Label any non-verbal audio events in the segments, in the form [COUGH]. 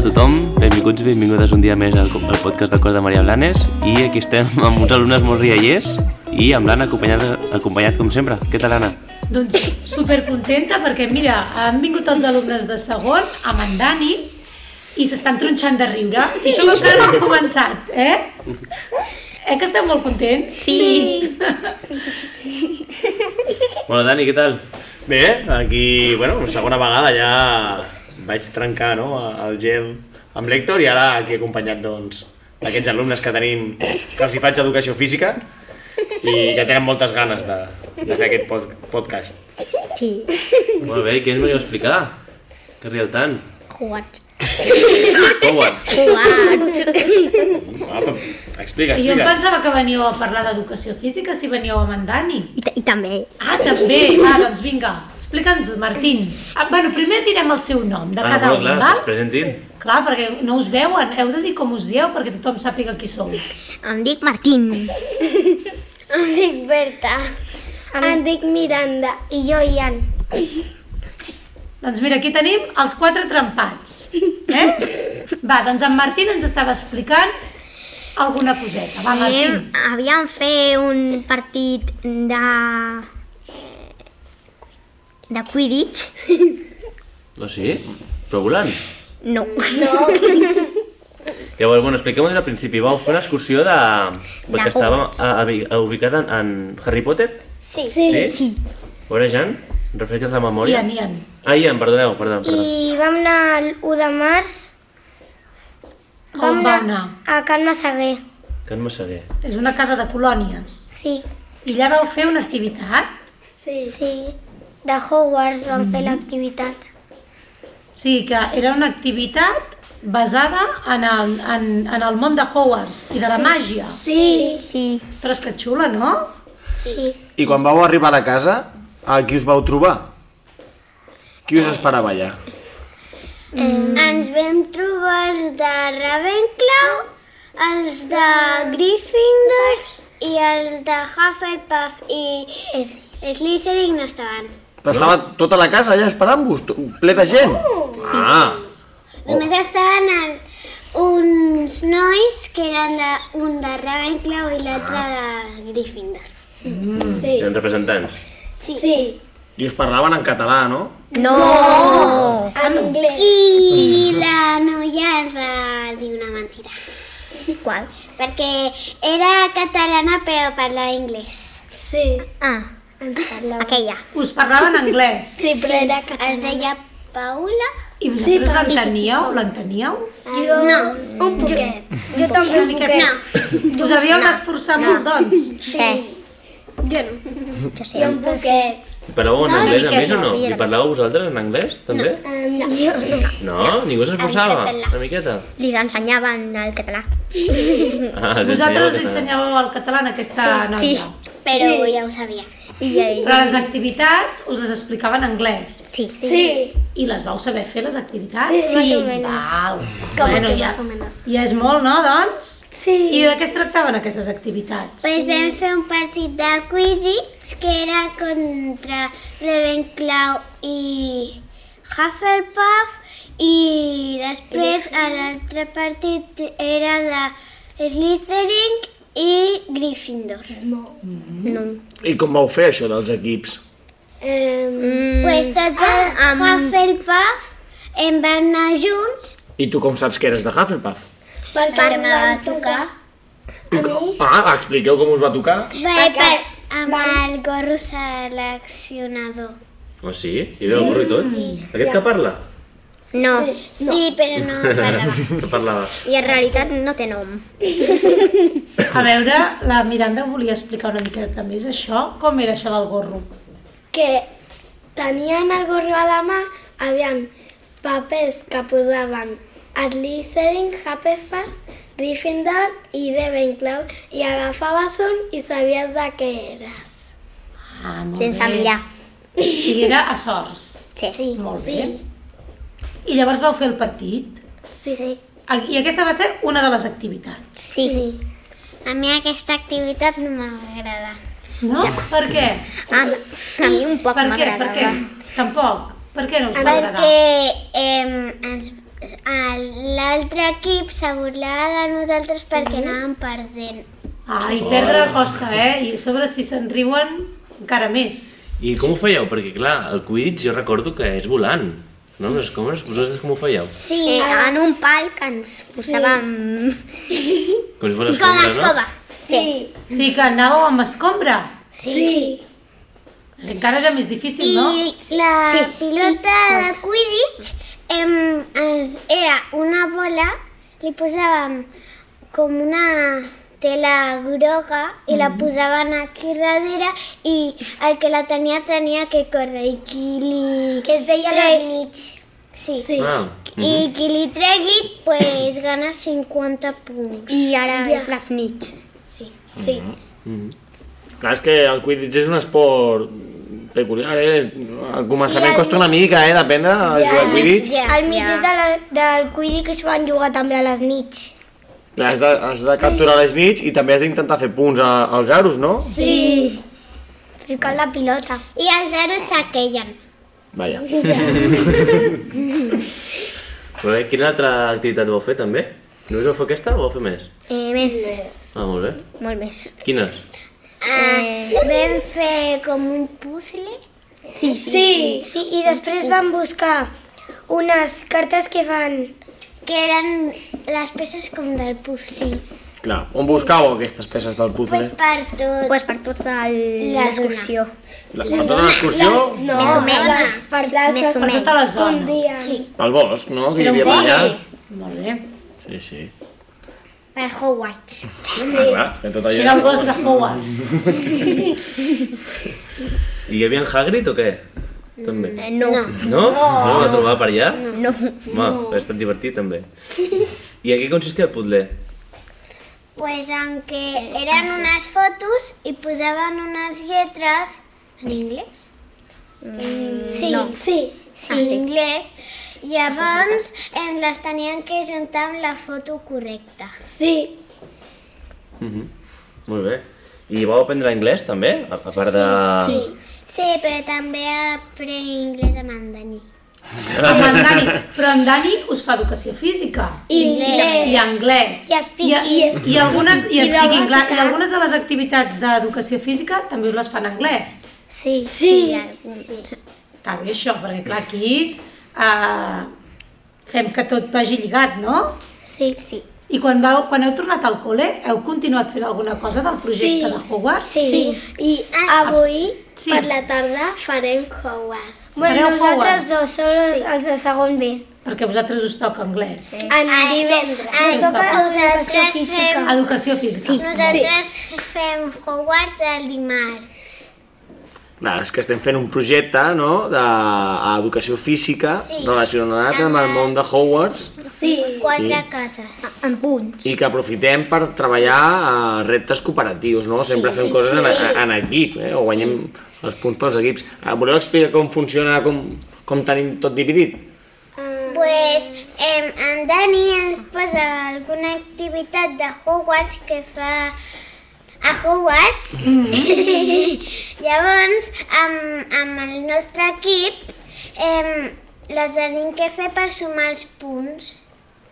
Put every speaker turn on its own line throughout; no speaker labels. tothom, benvinguts i benvingudes un dia més al, al podcast del cos de Maria Blanes i aquí estem [LAUGHS] amb uns alumnes molt riallers i amb l'Anna acompanyat, acompanyat com sempre. Què tal, Anna?
Doncs supercontenta perquè, mira, han vingut els alumnes de segon amb en Dani i s'estan tronxant de riure. I això que encara no hem començat, eh? Eh que esteu molt contents?
Sí.
Bueno, Dani, què tal?
Bé, aquí, bueno, segona vegada ja vaig trencar no, el gel amb l'Hèctor i ara aquí acompanyat doncs d'aquests alumnes que tenim, que els hi faig educació física i que tenen moltes ganes de, de fer aquest pod podcast.
Sí.
Molt bé, què ens veniu a explicar? Que rieu tant?
Jugat.
Hogwarts.
Jugat.
Ah, però explica,
I jo em
explica.
pensava que veníeu a parlar d'educació física si veníeu amb en Dani.
I, ta- I també.
Ah, també! Va, doncs vinga, explica'ns-ho, Martín. Ah, bueno, primer direm el seu nom de
Ah,
cada
bueno, clar,
un,
que
val?
es presentin.
Clar, perquè no us veuen, heu de dir com us dieu perquè tothom sàpiga qui sou.
Em dic Martín.
[LAUGHS] Em dic Berta. Em dic Miranda.
I jo, Ian.
Doncs mira, aquí tenim els quatre trempats. Eh? Va, doncs en Martín ens estava explicant alguna coseta. Va,
Havíem,
Martín.
havíem fet un partit de... eh, de Quidditch.
No sí? Però volant.
No. [LAUGHS]
Llavors, bueno, expliquem des del principi. Vau fer una excursió de...
De
Perquè estava a, a, ubicada en, en Harry Potter?
Sí.
Sí? Sí. A veure, Jan, refresques la memòria.
Ian, Ian.
Ah, Ian, perdoneu, perdó, perdó.
I vam anar l'1 de març
On va anar?
a Can Massaguer.
Que no me segué.
És una casa de colònies.
Sí.
I allà vau fer una activitat?
Sí. Sí. De Hogwarts vam
Mm-hmm.
fer l'activitat.
O sigui que era una activitat basada en el, en, en el món de Hogwarts i de la màgia.
Sí.
Sí.
Ostres, que xula, no?
Sí.
I quan vau arribar a casa, a qui us vau trobar? Qui us esperava allà?
Mm. Ens vam trobar els de Ravenclaw, els de Gryffindor i els de Hufflepuff i Slytherin no estaven.
Però estava tota la casa allà esperant-vos, to- ple de gent. Sí. Ah,
Només estaven el, uns nois que eren de, un de Ravenclaw i l'altre de Gryffindor.
Eren representants.
Sí. sí.
i us parlaven en català, no?
No!
En anglès. I sí. la noia ens va dir una mentira.
Qual?
Perquè era catalana però parlava anglès. Sí.
Ah,
Ens parlava.
aquella.
Us parlaven anglès.
Sí, però era catalana. Es deia Paula.
I vosaltres
sí, sí, sí.
l'enteníeu? L'enteníeu?
Jo... No, un poquet.
Jo també una miqueta. No. Us havíeu d'esforçar molt, doncs.
Sí. Jo no. Jo sé.
Un poquet.
I parlàveu en
No,
anglès
una
a més o
miqueta, Ah.
no?
no,
I parlàveu vosaltres en anglès, també?
No. Jo no.
No? Ningú s'esforçava?
En català.
Una miqueta?
Li ensenyaven el català. Mm.
Ah, els
Vosaltres li
ensenyava
ensenyàveu el català en aquesta noia.
Sí.
Però sí. ja ho sabia.
I, i
Però les activitats us les explicava en anglès.
sí. sí.
I les vau saber fer, les activitats?
Sí. Més o menys.
Val.
Com que
ja,
més o menys.
ja és molt, no, doncs?
Sí.
I de què es tractaven aquestes activitats?
Pues vam fer un partit de Quidditch que era contra Ravenclaw i Hufflepuff i després a l'altre partit era de Slytherin i Gryffindor.
I com vau fer això dels equips?
Mm. Pues tots els
Ah, amb-
Hufflepuff em van anar junts
I tu com saps que eres de Hufflepuff?
perquè em va tocar.
Eh?
Ah, expliqueu com us va tocar.
Perquè amb el gorro seleccionador.
Oh, sí? I veu el burro i tot? Aquest que parla?
[LAUGHS]
No.
Sí, però no
[LAUGHS]
parlava.
Que parlava.
I en realitat no té nom.
A veure, la Miranda volia explicar una miqueta més això. Com era això del gorro?
que tenien el gorro a la mà, havien papers que posaven Slytherin, Hufflepuff, Gryffindor i Ravenclaw i agafaves un i sabies de què eres.
Ah, molt
Sense
bé.
mirar.
O sigui, era a sorts.
Sí. sí.
Molt sí. bé. I llavors vau fer el partit?
Sí. sí.
I aquesta va ser una de les activitats,
Sí.
A mi aquesta activitat no m'agrada.
no? Per què?
A, Ah, a mi un poc
Per què? Per
m'agradava.
què? Tampoc. Per què no us va agradar?
Perquè eh, ens, el- l'altre equip se burlava de nosaltres
Mm.
perquè anàvem perdent.
Ai, perdre costa, eh? I a sobre si se'n riuen, encara més.
I com ho fèieu? Perquè, clar, el Quidditch jo recordo que és volant. No? Les comes, vosaltres com ho fèieu?
Sí, eh, en un pal que ens posàvem...
Com si fos
Com a
escombra,
escova.
Sí.
O sigui que anàveu amb escombra.
Sí.
Encara era més difícil,
I
no?
la
Sí.
pilota de Quidditch em, es, era una bola, li posàvem com una tela groga i la posaven aquí darrere i el que la tenia tenia que córrer i qui li... Que es deia les nits. Sí. sí.
no? Ah,
I qui li tregui, pues, gana 50 punts.
I ara ja. és la snitch.
Sí. Sí.
Clar, és que el Quidditch és un esport peculiar, eh? És- Al començament
Sí, el-
costa una mica, eh, d'aprendre a jugar al Quidditch.
Ja,
Al mig
ja.
és de la, del Quidditch que es van jugar també a les nits.
Clar, has de, has de capturar les nits i també has d'intentar fer punts a, als aros, no?
Sí. Ficant la pilota. I els zeros s'aquellen.
Vaja.
molt bé. eh, Quina altra activitat vau fer, també? Només vau fer aquesta o vau fer més?
Eh, més,
Ah, molt bé.
molt més.
Quines?
Ah, vam fer com un puzzle.
Sí, sí.
Sí, sí, i després vam buscar unes cartes que van... Que eren les peces com del puzzle. Sí.
Clar, on buscàveu aquestes peces del puzzle? eh?
Pues per tot.
Pues per tota el-
La
l'excursió.
La, per tota l'excursió,
no,
Més o menys.
les- Per les
Més o
Per
menys.
tota la zona.
dia. Sí.
al bosc, no? Que hi
Era un
havia per allà.
bosc. Molt bé.
Sí, sí.
Per Hogwarts.
Ah, clar, que tot allò...
Era el bosc de Hogwarts.
I hi havia en Hagrid o què? També.
Eh, no. no.
No? No, no va trobar per allà? No.
No,
Va, ha estat divertit, també. I a què consistia el puzzle?
Pues en
Eh,
que eren unes fotos i posaven unes lletres en anglès.
Mm,
sí, sí, sí, en anglès. Llavors em les tenien que juntar amb la foto correcta. Sí.
Mhm. Molt bé. I vau aprendre anglès, també? A a part de...
Sí, sí però també aprenc anglès amb en Dani.
Amb en Dani. [LAUGHS] Però en Dani us fa educació física.
I
I anglès.
I speak-
I, i, algunes, i, speak English.
gramàtica.
I algunes de les activitats d'educació física també us les fan en anglès.
Sí, sí. sí.
Està bé això, perquè clar, aquí eh, fem que tot vagi lligat, no?
Sí, sí.
I quan, vau, quan heu tornat al col·le, heu continuat fent alguna cosa del projecte
Sí.
de Hogwarts?
Sí. Ah. I avui,
Sí.
per la tarda, farem Hogwarts.
Bueno, Fareu nosaltres Hogwarts?
dos, sols sí. els de segon B.
Perquè a vosaltres us toca anglès. Sí.
En divendres. Ens toca nosaltres fem...
Educació física.
Nosaltres fem Hogwarts el dimarts.
Clar, és que estem fent un projecte, no?, d'educació física
Sí.
relacionat amb el món de Hogwarts
Sí. Quatre
Sí.
cases.
en punts.
i que aprofitem per treballar a reptes cooperatius, no? Sempre fem coses en, en equip, eh? O guanyem els punts pels equips. Ah, Voleu explicar com funciona, com, com tenim tot dividit?
Pues em, en Dani ens posa alguna activitat de Hogwarts que fa a Hogwarts. [LAUGHS] Llavors, amb, amb el nostre equip, em, la tenim que fer per sumar els punts.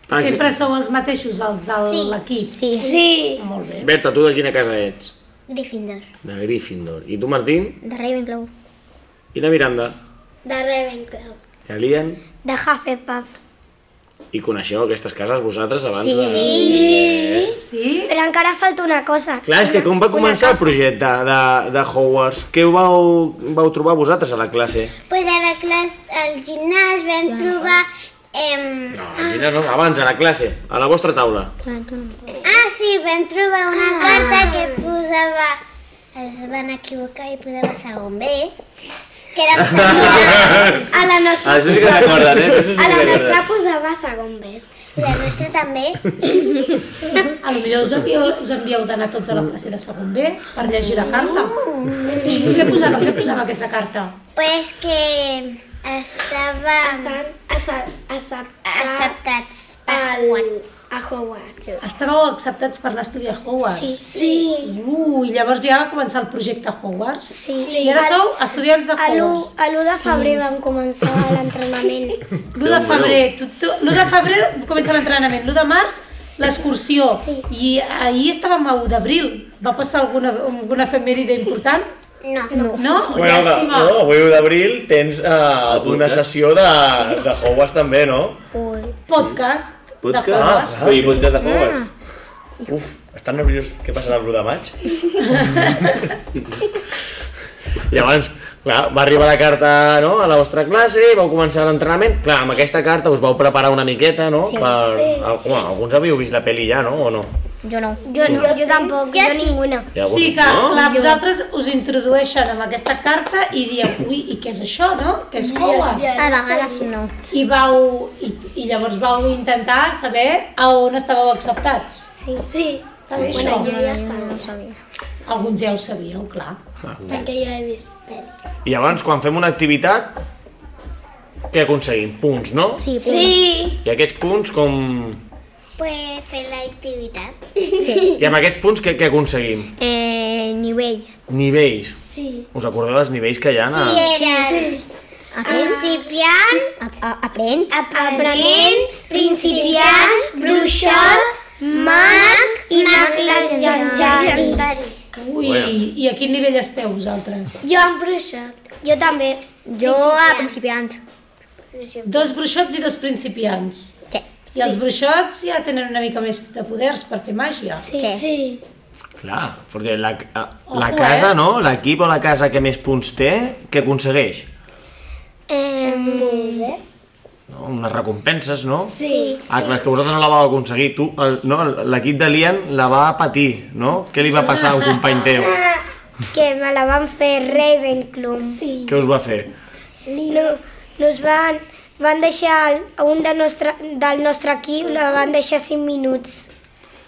Per
Sempre sou els mateixos, els de l'equip.
Sí.
Sí.
Molt bé.
Berta, tu de quina casa ets?
Gryffindor.
De Gryffindor. I tu, Martín?
De Ravenclaw.
I la Miranda?
De Ravenclaw.
I la Lian?
De Hufflepuff.
I coneixeu aquestes cases vosaltres abans
Sí.
de...
Sí?
Però encara falta una cosa.
Clar, és que com va començar el projecte de, de Hogwarts? Què ho vau, vau trobar vosaltres a la classe?
Pues a la classe, al gimnàs vam trobar... Em...
No, Gina, no, abans, a la classe, a la vostra taula.
Ah, sí, vam trobar una carta que posava... Es van equivocar i posava segon B. Que era a la nostra...
Ah, Això sí que recorden, eh? Això sí que recorden.
pues,
posava segon B. I la nostra també.
A lo millor us havíeu, us havíeu d'anar tots a la classe de segon B per llegir la carta. Què posava, què posava aquesta carta?
Pues que estava...
Estan acep- acep-
Ah. acceptats per Hogwarts.
a Hogwarts.
Estàveu acceptats per anar a estudiar a Hogwarts?
Sí, sí.
Uh, i llavors ja va començar el projecte Hogwarts?
Sí.
I ara
Al-
sou estudiants de
A l'1
Hogwarts.
de febrer vam començar l'entrenament.
[LAUGHS]
L'1 de febrer, tu, tu, l'1 de febrer comença l'entrenament, l'1 de març l'excursió.
Sí.
I ahir estàvem a 1 d'abril. Va passar alguna, alguna efemèride important?
No. no.
No?
Bueno, de,
Llàstima.
no, avui 1 d'abril tens uh, una
podcast.
sessió de, de Hogwarts també, no?
Ui.
Podcast,
Podcast?
de Hogwarts.
Ah,
Vull dir, podcast de Hogwarts.
Uf, estan nerviós què passarà l'1 de maig?
[LAUGHS] Llavors, clar, va arribar la carta no, a la vostra classe, vau començar l'entrenament. Clar, amb aquesta carta us vau preparar una miqueta, no? Sí, per...
Sí,
Al- Bueno, alguns havíeu vist la pel·li ja, no? O no?
Jo no.
Jo no, jo tampoc, jo, ninguna.
Hi ha algun-
Sí, que
no?
clar, vosaltres us introdueixen amb aquesta carta i dieu, ui, i què és això, no? Què és Hogwarts?
A vegades no.
I, vau, i, i llavors vau intentar saber a on estàveu acceptats.
Sí. sí.
Està bé,
Bueno,
això?
jo ja sabia,
No sabia.
Alguns ja ho sabíeu, clar.
perquè ja he vist pel·lis.
I llavors, quan fem una activitat, què aconseguim? Punts, no?
Sí,
Sí.
I aquests punts com...
Pues fer l'activitat.
I amb aquests punts què, què aconseguim?
Eh, nivells.
Nivells.
Sí.
Us acordeu dels nivells que hi ha?
Sí,
A...
era principiant,
A a aprèn.
aprenent, principiant, bruixot, mag i mag legendari.
Ui, i a quin nivell esteu vosaltres?
Jo amb bruixot. Jo també.
Jo a principiant.
Dos bruixots i dos principiants.
Sí.
I els bruixots ja tenen una mica més de poders per fer màgia.
Sí. sí.
Clar, perquè la, a, la
Ojo,
casa,
eh?
no? L'equip o la casa que més punts té, què aconsegueix?
Eh,
No? Unes recompenses, no?
sí.
Ah, clar, és que vosaltres no la vau aconseguir. Tu, el, no? L'equip de Lian la va patir, no? Què li va passar a un company teu?
Que me la van fer Ravenclaw. Sí.
Què us va fer?
No, nos van, van deixar el- a un de nostre, del nostre equip, la van deixar 5 minuts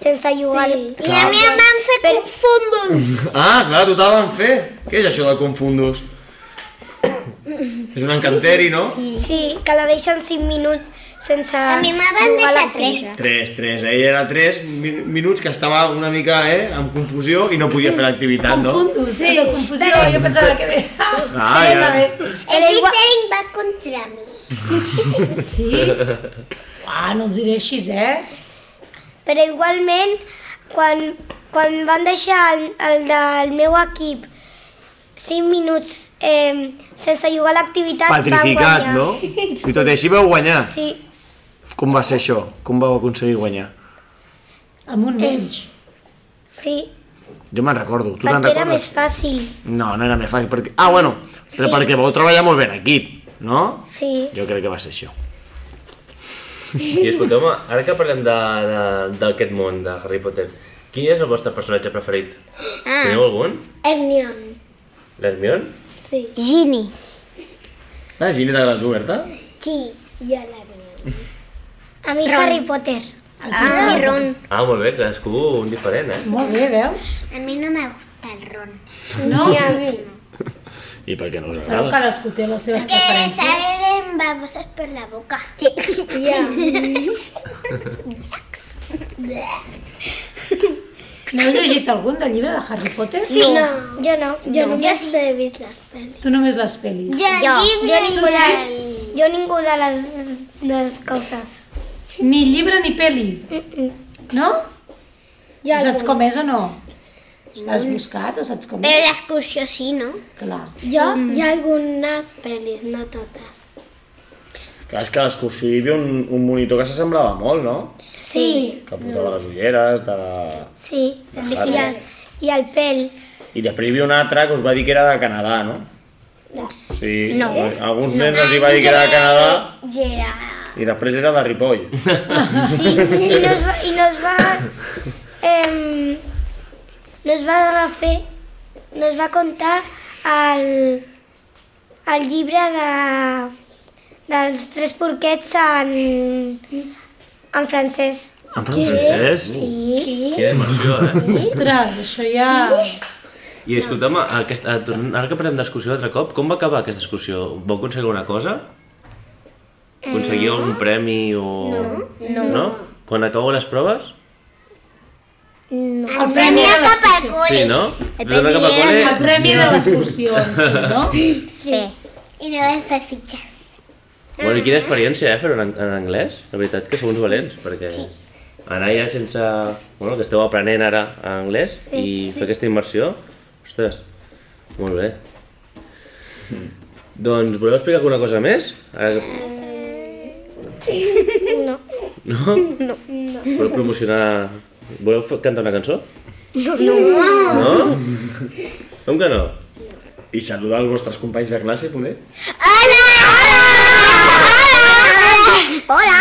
sense jugar. Sí. I a mi em van fer per... confondre.
Ah, clar, tu te la van fer. Què és això del confundus? És un encanteri, no?
Sí, que la deixen 5 minuts sense A mi me van deixar 3.
3, 3. Ell eh? era 3 minuts que estava una mica eh, amb confusió i no podia fer l'activitat, Ah, no?
Confundo, sí, la confusió, jo pensava que bé.
[LAUGHS] Ah, ja.
El Slytherin va contra mi.
[LAUGHS]
Sí? Ah, no els hi deixis, eh?
Però igualment, quan, quan van deixar el, el del meu equip 5 minuts eh, sense jugar a l'activitat, van [LAUGHS]
Petrificat,
guanyar.
no? I tot i així vau guanyar.
Sí,
Com va ser això? Com vau aconseguir guanyar?
Amb
Eh.
un menys.
sí.
Jo me'n recordo. Tu te'n
Perquè era més
recordes?
fàcil.
No, no era més fàcil. Perquè... Ah, bueno, però perquè vau treballar molt bé en equip, no?
Sí.
Jo crec que va ser això.
I escolteu-me, ara que parlem de- de- d'aquest món, de Harry Potter, quin és el vostre personatge preferit? Ah. Teniu algun?
Hermione.
L'Hermione?
Sí.
Gini.
Ah, Gini, t'ha agradat oberta?
Sí. Jo l'Hermione. A mi Harry Potter.
Ah, mi Ron.
Ah, molt bé, cadascú un diferent, eh?
Molt bé, veus?
A mi no m'agrada el Ron.
No?
I per què no us
Però
agrada?
cadascú té les seves preferències.
salen babosas per la boca. Sí. [LAUGHS]
N'heu llegit algun del llibre de Harry Potter?
sí. No. Jo no.
Jo no. només he vist les pel·lis.
Tu només les pel·lis.
Jo, jo, jo ningú de,
sí?
jo ningú de les, de les coses.
Ni llibre ni pel·li. No?
Jo
saps com és o no? L'has buscat o saps com és?
l'excursió sí, no?
Clar.
Jo hi ha algunes pel·lis, no totes.
Clar, és que a l'excursió hi havia un, un monitor que s'assemblava molt, no?
Sí.
Que portava les ulleres, de...
Sí. I el, i el pèl.
I després hi havia un altre que us va dir que era de Canadà, no? Sí, no. Ah, alguns nens els hi va dir que era de Canadà
Gerard.
i després era de Ripoll.
Sí, i nos va... I nos va em, nos va donar fer... Nos va contar el, el llibre de, dels tres porquets en, en francès.
Ah,
En francès? Sí.
Sí.
Quina emoció, eh?
Ostres, això ja...
I escolteu-me, aquest, eh, tornant- ara que parlem d'excursió altre cop, com va acabar aquesta excursió? Vau aconseguir alguna cosa? Aconseguir algun premi o... No. No? Quan acabo les proves?
El premi era cap al col·le.
Sí, no?
El
Us heu de cap al
primer
El
col·le?
premi de les porcions, sí, no?
Sí.
I no vam fer fitxes.
Bueno, i quina experiència, eh, fer-ho en, en anglès? La veritat que sou uns valents, perquè anar ja sense... Bueno, que esteu aprenent ara anglès i fer aquesta immersió, ostres, molt bé. Doncs voleu explicar alguna cosa més? Ara... Mm. [LAUGHS] No. No? No. no. Voleu promocionar... Voleu fer- cantar una cançó? No. No? Com que no?
I saludar els vostres companys de classe, poder?
Hola! Hola! Hola!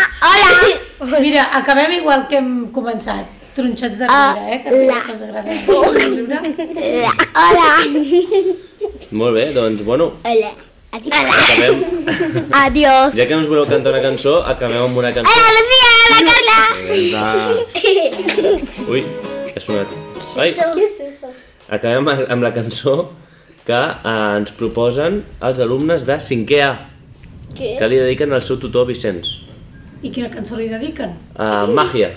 Hola!
Mira, acabem igual que hem començat. Tronxats de riure, eh? Que la... us agrada. riure.
Hola!
Molt bé, doncs, bueno,
Hola!
acabem...
Adiós!
Ja que no us voleu cantar una cançó, acabem amb una cançó.
Hola, Lucía! Hola, Carla!
Ui, que ha sonat. Ai. Acabem amb amb la cançó que eh, ens proposen els alumnes de 5è A,
Què?
que li dediquen al seu tutor Vicenç.
I quina cançó li dediquen?
Uh, màgia.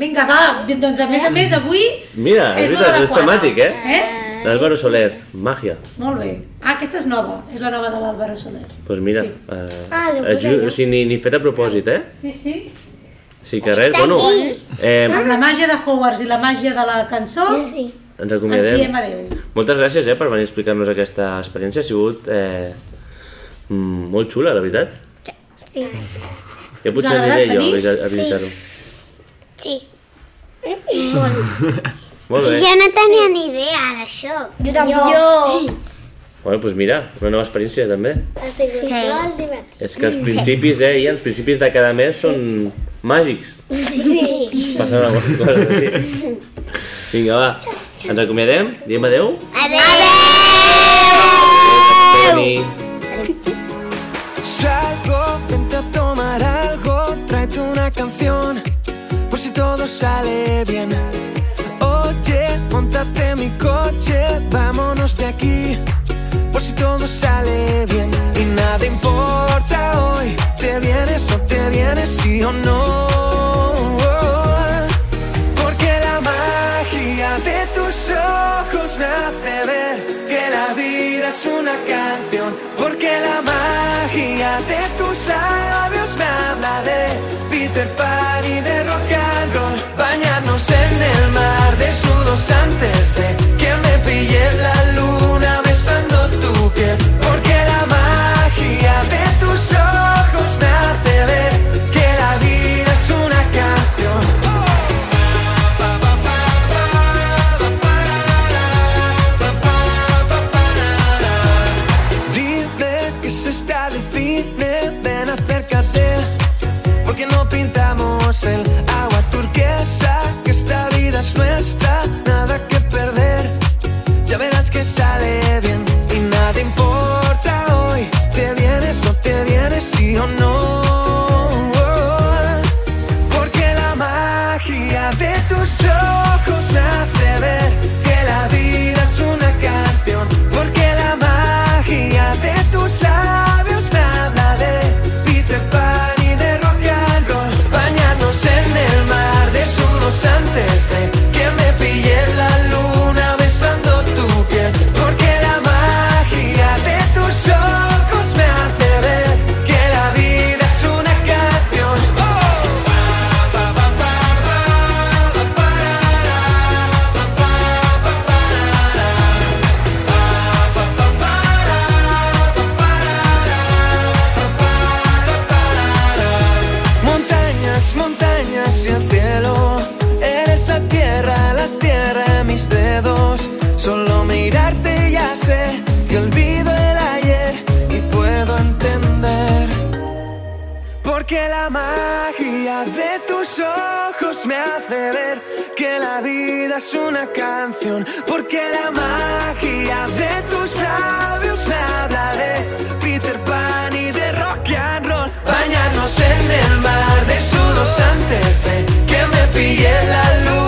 Vinga, va, doncs a més a més avui...
Mira, és,
És molt
veritat, és
adequada.
temàtic, eh?
Eh?
L'Àlvaro Soler, màgia.
Molt bé. Ah, aquesta és nova, és la nova de l'Àlvaro Soler.
Doncs pues mira,
Sí.
eh,
Ah, l'he posat
aju-
jo.
o sigui, ni, ni fet a propòsit, eh?
Sí, sí.
Sí que res, bueno, eh,
Amb la màgia de Hogwarts i la màgia de la cançó,
Sí.
ens
ens
acomiadem.
diem adeu.
Moltes gràcies eh, per venir a explicar-nos aquesta experiència. Ha sigut eh, mm, molt xula, la veritat.
Sí.
Ja
Us ha
potser
agradat
aniré jo a
venir?
visi- a visitar-ho.
Sí.
Molt bé.
Jo no tenia ni idea d'això.
Jo tampoc. Jo.
Bueno, doncs mira, una nova experiència també.
Ha sigut
Sí.
molt divertit.
És que els principis, eh, i els principis de cada mes són màgics.
Sí.
Passen algunes coses així. Vinga, va. Ens acomiadem, diem adeu.
Adéu!
Bona nit.
Salgo, vente a tomar algo, tráete una canción, por si todo sale bien. Oye, montate en mi coche, vámonos de aquí, por si todo sale bien. Y nada importa hoy, te vienes o te vienes, sí o no. Porque la magia de tus ojos me hace ver que la vida es una canción. Porque la magia de tus labios me habla de Peter Pan y de rock and roll. Bañarnos en el mar desnudos antes de que me pille la luna besando tu piel. Porque la magia de tus ojos me hace ver que la vida es una canción. Dime que se está de cine, ven acércate, porque no pintamos el agua turquesa, que esta vida es nuestra, nada que perder, ya verás que sale bien y nada importa hoy, te vienes o te vienes, sí o no. Porque la magia de tus ojos me hace ver que la vida es una canción. Porque la magia de tus labios me habla de Peter Pan y de rock and roll. Bañarnos en el mar desnudos antes de que me pille la luna besando tu piel. Porque la magia de tus ojos me hace ver que la vida es una canción. Oh. Montañas, montañas y el cielo. Eres la tierra, la tierra en mis dedos. Solo mirarte ya sé que olvido el ayer y puedo entender. Porque la magia de tus ojos me hace ver que la vida es una canción. Porque la magia de tus labios me habla de Peter Pan y de rock and roll. Bañarnos en el mar desnudos antes de que me pille la luz.